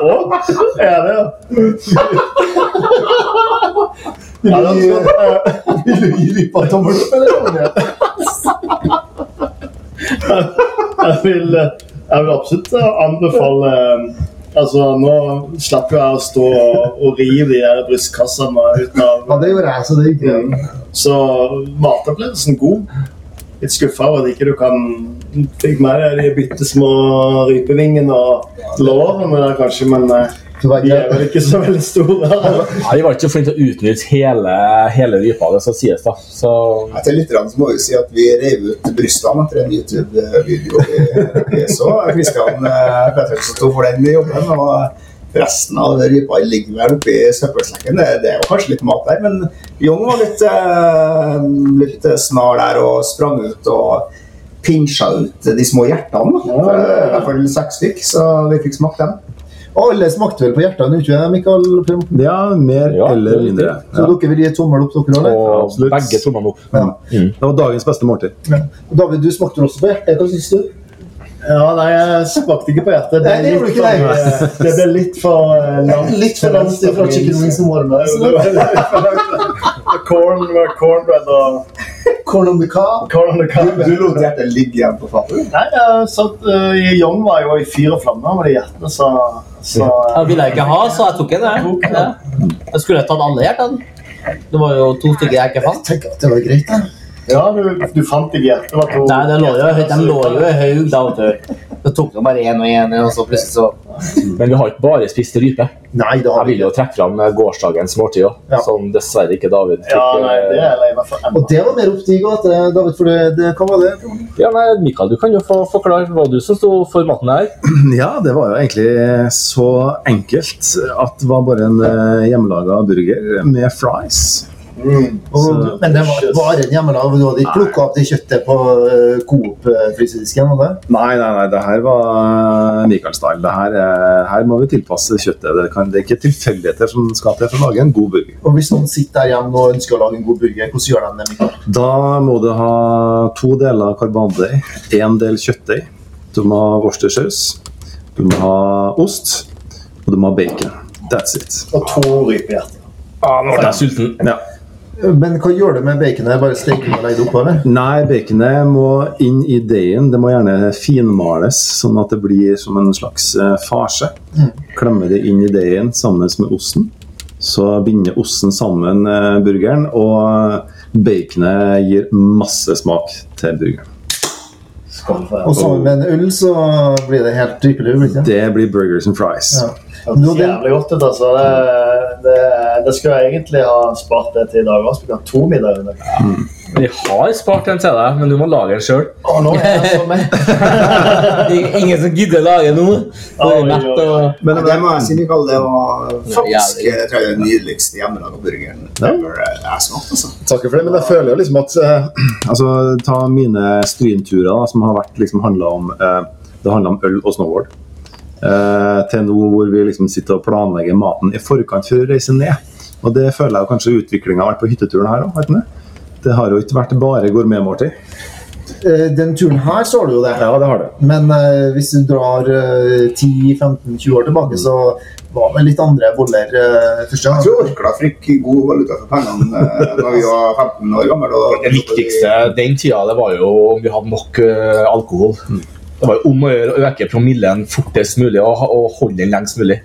D: Å, er det, ja? Ja, det er sånn, eh,
B: Vil du gi rypa tommel opp, eller?
D: jeg vil, eh, jeg vil absolutt eh, anbefale Altså, Nå slapp jo jeg å stå og, og rive de her brystkassene ut av
B: Ja, det gjorde jeg, så det gikk bra.
D: Så matopplevelsen god. Litt skuffa over at ikke du kan fikk med deg de bitte små rypevingene og lårene der, kanskje, men eh,
B: Du vet,
D: de er
B: jeg,
D: vel ikke så veldig store.
C: Ja, de var ikke så flinke til å utnytte hele, hele rypa, det skal sies, da. Så
G: Etter litt rann så må vi si at vi rev ut brystene etter en YouTube-video vi, vi så. Kristian eh, Pettersen sto for den jobben, og resten av rypa ligger vel oppi søppelsekken. Det, det er jo kanskje litt mat der, men Jong var litt, eh, litt snar der og sprang ut og pinsja ut de små hjertene. da.
D: Ja, ja, ja.
G: I hvert fall seks stykk, så vi fikk smakt dem.
B: alle smakte vel på hjertene, gjorde ikke det, Mikael? Per Morten?
E: ja, mer
C: Ja, det
E: eller
C: er
E: mindre.
C: riktig.
E: Ja.
B: Så dere vil gi tommel opp, dere òg?
C: Og
E: absolutt.
C: begge tommene opp.
B: Ja.
E: Det var dagens beste måltid.
B: David, du smakte vel også på hjertet? Hva syns du?
D: Ja, nei, jeg smakte ikke på hjertet.
B: Nei, det gjorde
D: litt
B: ikke det.
D: for, eh, det ble litt for eh, langt. til venstre for min smak.
B: and watermelons.
D: Corn, uh, cornbread og
B: Corn on the cob.
D: corn on the cob.
G: Du lot hjertet ligge igjen på fatet.
D: Nei, jeg satt, eh, Young var jo i fyr og flamme med de hjertene, så, så eh,
F: Jeg ville jeg ikke ha, så jeg tok en. Jeg, ja. jeg skulle tatt alle hjertene. Det var jo to stykker jeg ikke fant.
B: Tenk at det var greit, da.
D: Ja, du, du fant ikke hjertet. var to-
F: Nei, det lå jo, De lå jo i haug, da. vet du. Det tok jo bare én og én, og så plutselig så
C: Men vi har ikke bare spist rype.
B: Nei, det
C: Jeg
B: har vi
C: vil jo trekke fram eh, gårsdagens måltid òg,
B: Ja.
C: som dessverre ikke David fikk. eh,
D: Ja, nei, det er jeg lei meg for
B: Og
D: ennå.
B: det var mer oppstig òg, eh, David. For det, det, hva var det? Per Morten?
C: Ja, nei, Mikael, du kan jo få forklare hva du som sto for maten her.
E: Ja, det var jo egentlig så enkelt at det var bare en eh, hjemmelaga burger med fries. Så-
D: Mm.
B: Og, men det var bare en hjemmelav. Du hadde ikke plukka opp det kjøttet på eh, Coop-frysedisken? hadde du?
E: Nei, nei, nei, det her var eh, Michael-style. Det her, er- her må vi tilpasse kjøttet. Det, kan, det er ikke tilfeldigheter som skal til for å lage en god burger.
B: Og hvis noen sitter der hjemme og ønsker å lage en god burger, hvordan gjør de det? Mikael?
E: Da må du ha to deler karbonadeig, én del kjøttdeig. Du må ha worstersaus, du må ha ost, og du må ha bacon. That's it.
D: Og to rypehjerter.
C: Nå ble jeg sulten.
E: Ja.
B: Men hva gjør du med baconet? Bare steker du og legger det oppå? eller?
E: Nei, baconet må inn i deigen. Det må gjerne finmales, sånn at det blir som en slags eh, farse. Klemme det inn i deigen sammen med osten. Så binder osten sammen eh, burgeren, og eh, baconet gir masse smak til burgeren.
D: Skål for
B: Og sammen med en øl så blir det helt dryppelig? blir det ikke?
E: Det blir burgers and fries.
B: Ja.
D: Det
B: Nå,
D: høres
B: det-
D: jævlig godt ut, altså. Det, det, det skulle jeg egentlig ha spart det til i dag også. Vi kan ha to middager i dag.
C: Vi har spart en til deg, men du må lage en sjøl.
D: Å, nå er jeg så mett.
F: Ingen som gidder lage nå. Bare
D: Oi,
F: mett
D: oi, oi.
F: og
G: Men det må jeg si, Mikael, det var faktisk
F: jævlig.
G: jeg eh, tror jeg, den nydeligste hjemmelaga burgeren ever, eh, jeg smakte. altså.
E: Takker for det, men jeg føler jo liksom at eh, Altså, ta mine strynturer, da, som har vært liksom handla om eh, Det handla om øl og snowboard. Eh, til nå hvor vi liksom sitter og planlegger maten i forkant før vi reiser ned. Og det føler jeg jo kanskje utviklinga har vært på hytteturen her òg. Det har jo ikke vært bare gourmetmåltid.
B: Eh, Den turen her så du jo det.
E: Ja, det har det.
B: Men eh, hvis du drar eh, 10-15-20 år tilbake, så var det litt andre boller eh, første
G: Jeg
B: gang.
G: tror Orkla fikk god valuta for pengene eh, da vi var 15 år gamle. og-
C: Det viktigste den tida det var jo om vi hadde nok eh, alkohol. Det var jo om å gjøre å øke promillen fortest mulig og, ha- og holde den lengst mulig.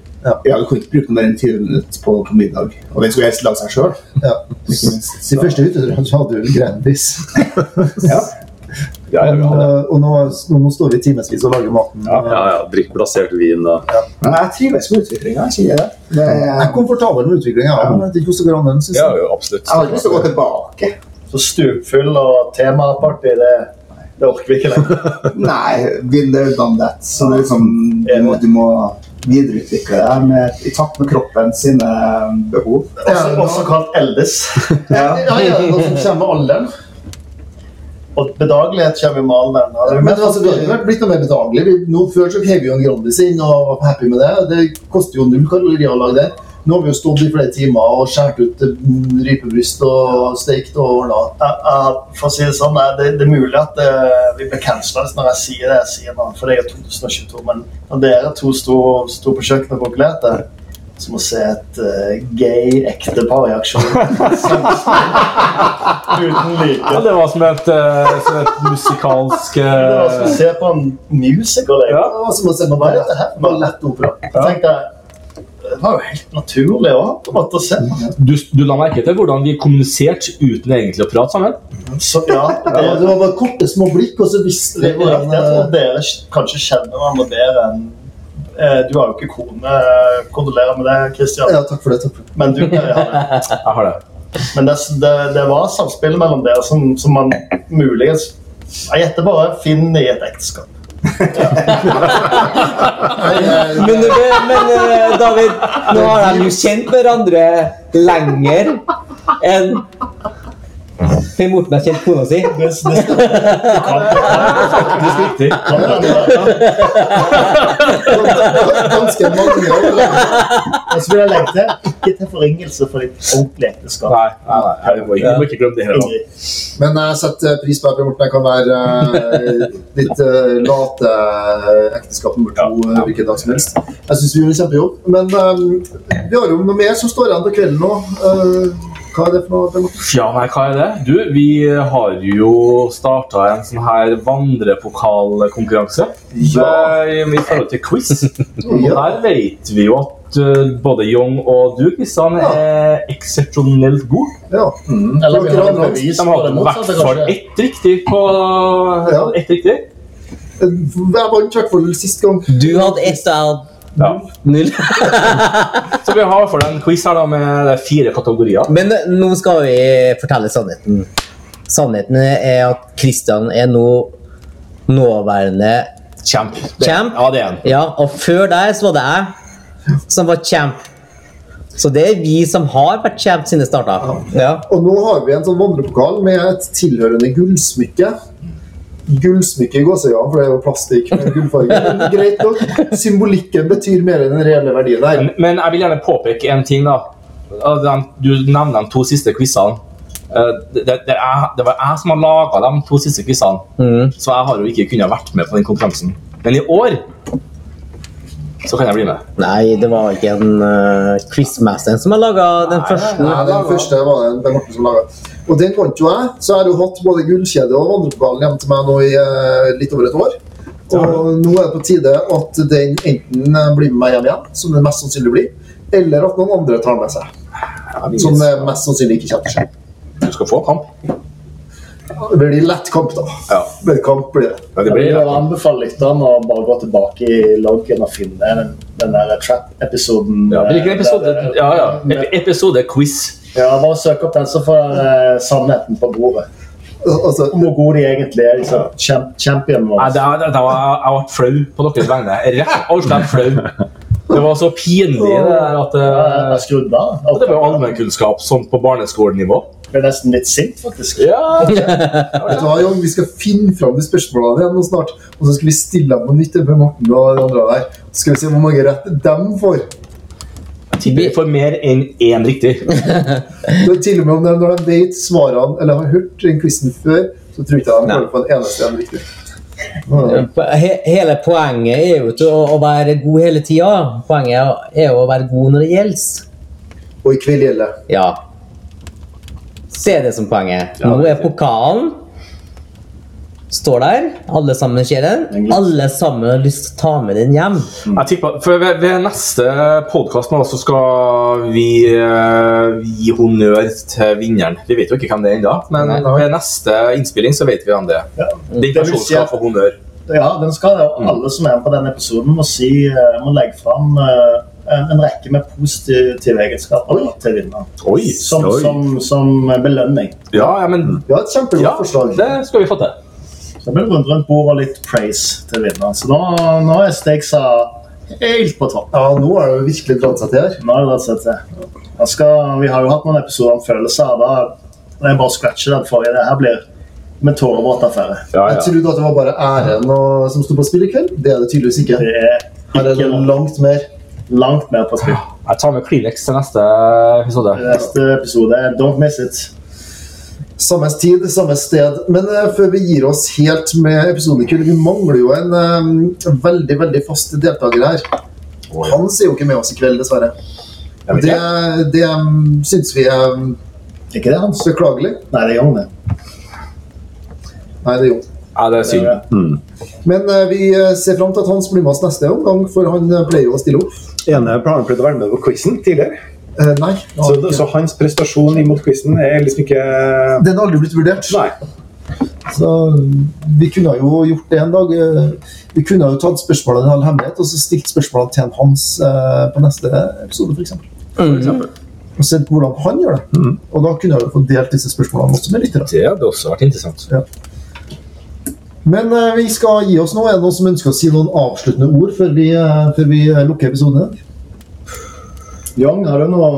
G: Ja, Du kunne ikke bruke mer enn 20 minutter på, på middag. Og den skulle helst lage seg sjøl.
B: Ja. De første hytteturene så hadde du Grandis.
G: Ja.
C: Ja, ja, vi hadde.
B: Eh, og nå, nå står vi timevis og lager maten.
E: Ja, ja, Drikk blasert vin og
G: Men jeg trives med utviklinga. Jeg kjenner det. det
B: Jeg er
G: jeg
B: komfortabel med utviklinga. Ja. men Jeg vet ikke hvordan det går an, den synes
C: ja,
B: jeg.
C: jo, absolutt.
G: har ikke lyst til å gå tilbake.
D: Så stupfull og temaparty, det, det orker vi ikke lenger.
G: Nei, been there, done that. Så det er liksom, du, må, du må videreutvikle det her med, i takt med kroppen sine eh, behov.
D: Også, også kalt eldes.
G: Ja.
B: Ja, ja, noe som kommer med alderen.
D: Og bedagelighet kommer i malen. Har du
B: Men
D: møtt
B: altså, det har jo vært blitt noe mer bedagelig. Vi- Nå Før så hev vi jo en Grandis inn og var happy med det. Det koster jo null kalorier å lage det. Nå har vi jo stått i flere timer og skåret ut mm, rypebryst og steikt og ordna.
D: jeg, jeg, for å si det sånn, nei, det, det er mulig at eh, vi blir cancela når jeg sier det jeg sier nå, for det er jo 2022. Men når dere to sto, sto på kjøkkenet og konkurrerte, som å se et eh, gay ektepar i aksjon Uten
C: Ja,
D: like.
C: det var som et, eh, som et musikalsk
D: Det var som å
C: eh,
D: se på en musical. Jeg.
C: Ja.
B: Det var som å se på
D: Hva er dette her?
B: ballettopera.
D: Jeg tenkte, det var jo helt naturlig også, på en måte å se.
C: du, du la merke til hvordan vi kommuniserte uten egentlig å prate sammen?
D: Så ja,
B: Ja,
D: det,
B: det var bare korte små blikk, og så visste vi
D: Det er
B: hvordan
D: riktig. Jeg tror
B: eh,
D: dere kanskje kjenner hverandre bedre enn eh, Du har jo ikke kone. Kondolerer med det, Kristian.
B: Ja, takk for det. takk for det.
D: Men du kan gjøre det.
C: Jeg har det.
D: Men det, det, det var samspill mellom dere som, som man muligens Jeg gjetter bare finner i et ekteskap.
F: Men, men, men eh, David, nå har de jo kjent hverandre lenger enn Per Morten har kjent kona si.
D: Det, det, det, kan, det,
C: Faktisk riktig.
D: kan, hende.
B: Ganske mange år.
D: Og så vil jeg legge til ikke til forringelse for ditt ordentlige ekteskap.
C: Nei, nei, nei, jeg må ikke, jeg må ikke glemme det her. da.
D: Ingrid.
B: Men jeg setter pris på at Per Morten jeg kan være eh, litt eh, late ekteskap nummer to eh, hvilken dag som helst. Jeg syns vi gjør en kjempejobb. Men eh, vi har jo noe mer som står igjen på kvelden nå. Eh, hva er det for noe? Per Morten?
C: Ja, nei, hva er det? Du, vi har jo starta en sånn her vandrepokalkonkurranse.
B: Ja.
C: Eh, I forhold til quiz. Og
B: Ja.
C: der vet vi jo at eh, både Young og du, Kristian,
B: Ja.
C: er eksepsjonelt god.
B: Ja.
D: Mm. Eller vi har
B: Dere har
C: De
D: bevis på
C: har
D: det
C: i hvert
D: motsatte,
C: fall
D: kanskje.
C: ett riktig på
B: Ja.
C: ett riktig.
B: Eh, Jeg vant i hvert fall sist gang.
F: Du hadde ett, jeg hadde
C: Ja.
F: null.
C: Så vi har for en quiz her da med fire kategorier.
F: Men eh, nå skal vi fortelle sannheten. Sannheten er at Kristian er nå nåværende
C: Champ. Det-
F: Champ?
C: Ja, det er en.
F: Ja, og før der så var det jeg som var champ. Så det er vi som har vært kjent siden det starta. Ja.
B: Og nå har vi en sånn vandrepokal med et tilhørende gullsmykke. Gullsmykke i gåseøynene, for det er jo plastikk med gullfarge. Men greit nok. Symbolikken betyr mer enn den reelle verdien der.
C: Men jeg vil gjerne påpeke en ting, da. Av dem- Du nevner de to siste quizene. Eh, Det, det, det, er, det var jeg som har laga de to siste quizene,
F: Mhm.
C: så jeg har jo ikke kunnet vært med på den konkurransen. Men i år så kan jeg bli med.
F: Nei, det var ikke en uh, quizmaster som har laga den første.
B: Nei, den første var det Per Morten som laget. Og den vant jo jeg, så jeg har jo hatt både gullkjede og vandrepokalen hjemme til meg nå i eh, litt over et år. Og nå er det på tide at den enten eh, blir med meg hjem igjen, som det mest sannsynlig blir, eller at noen andre tar den med seg. Som eh, mest sannsynlig ikke kommer til å skje.
C: eh, Du skal få kamp.
B: Det blir lett kamp, da.
C: Ja.
B: Men kamp blir det.
C: Ja, det
D: Jeg
C: blir
D: vil jo anbefale lytterne å bare gå tilbake i loggen og finne den, den der Trap-episoden.
C: ja,
D: eh,
C: hvilken episode?
D: der-
C: Ja, ja. Ep- Episode quiz.
D: Ja, bare søk opp den, så får dere eh, sannheten på bordet.
B: Al- Altså,
D: Om hvor gode de egentlig er. Liksom. Champ champion
C: Nei,
D: vår.
C: det, det, det var, jeg- jeg ble flau på deres vegne. Rett og slett flau. Det var så pinlig det der at
D: Jeg
C: eh,
D: er skrudd av.
C: og Det var jo allmennkunnskap, sånn på barneskolenivå.
D: Jeg ble nesten litt sint, faktisk.
C: Ja,
B: Vet du hva, Jon, Vi skal finne fram de spørsmålene igjen nå snart. Og så skal vi stille dem på nytt til Per Morten og de andre der. Så skal vi se hvor mange rett dem får.
C: Tipper vi får mer enn én riktig.
B: Så til og med om de, Når de vet svarene eller har hørt den quizen før, så tror ikke jeg de
F: Nei.
B: får det på en eneste en riktig.
F: He hele poenget er jo ikke å, å være god hele tida. Poenget er jo å være god når det gjelder.
B: Og i kveld gjelder det.
F: Ja. Se det som poenget. Nå er pokalen. Står der. Alle sammen ser den. Alle sammen har lyst til å ta med den hjem.
C: Jeg tipper, for ved, ved neste podkast så skal vi eh, gi honnør til vinneren. Vi vet jo ikke hvem det er ennå, men
F: Nei.
C: ved neste innspilling så vet vi hvem Mm. det er.
D: Ja.
C: Den
D: vil
C: personen
D: si
C: skal
D: at-
C: få honnør.
D: Ja, den skal det. Og alle som er på denne episoden, må, si, eh, må legge fram eh, en, en rekke med positive egenskaper til vinneren.
C: Oi!
D: Som, som, som belønning.
C: Ja, ja, men
B: Ja, et kjempegodt
C: ja,
B: forslag.
C: det skal vi få til.
D: Så blir det rundt rundt bordet og litt praise til vinneren. Så nå, nå er stakesa helt på topp.
B: Ja, nå er det jo virkelig dratt seg til her.
D: Nå er det rett og slett det. Jeg skal, vi har jo hatt noen episoder om følelser. Da når jeg bare scratcher den forrige. Det her blir med tårevåtaffære.
C: Ja,
B: Jeg
C: ja.
B: trodde at det var bare æren og, som sto på spill i kveld. Det er det tydeligvis ikke.
D: Det er
B: Her er
D: ikke
B: det langt mer.
D: langt mer på spill.
C: Jeg tar med Kleenex til neste episode.
D: Neste episode er Don't miss it.
B: Samme tid, samme sted. Men eh, før vi gir oss helt med episoden i kveld, vi mangler jo en eh, veldig, veldig fast deltaker her. Hans er jo ikke med oss i kveld, dessverre.
C: Jeg vet
B: Det,
C: ikke.
B: det um, syns vi er um,
D: Ikke det, Hans?
B: beklagelig.
D: Nei, det er Young, det.
B: Nei, det er jo
C: Ja, det er synd.
B: Men eh, vi eh, ser fram til at Hans blir med oss neste gang, for han eh, pleier jo å stille opp.
E: Ene har planlagt å være med på quizen tidligere,
B: Eh, nei. han
E: så,
B: har ikke.
E: så hans prestasjon imot quizen er liksom ikke
B: Den har aldri blitt vurdert.
E: Nei.
B: Så vi kunne jo gjort det en dag. eh, Vi kunne jo tatt spørsmålene i all hemmelighet og så stilt spørsmålene til en Hans eh, på neste episode, f.eks. Og sett hvordan han gjør det. Og da kunne jeg jo fått delt disse spørsmålene også med lyttere. altså.
C: Det hadde også vært interessant.
B: Men eh, vi skal gi oss nå. Er det noen som ønsker å si noen avsluttende ord før vi, eh, før vi eh, lukker episoden? i dag?
D: Young, har du noe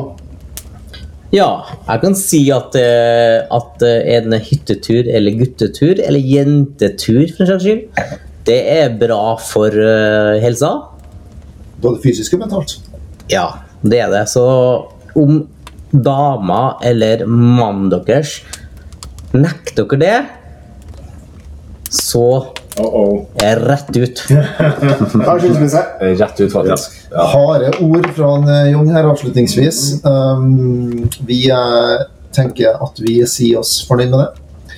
F: Ja, jeg kan si at, eh, at eh, en hyttetur eller guttetur, eller jentetur for en slags skyld, det er bra for eh, helsa.
B: Både fysisk og mentalt.
F: Ja, det er det. Så om dama eller mannen deres nekter dere det, så
D: Uh-oh.
F: er jeg rett ut.
G: Da er skilsmisse.
C: Rett ut, faktisk. Ja.
B: Harde ord fra en, eh, Jung her avslutningsvis. Um, vi eh, tenker at vi sier oss fornøyd med det.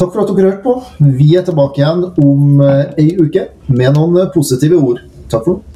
B: Takk for at dere hørte på. Vi er tilbake igjen om eh, ei uke med noen eh, positive ord. Takk for nå.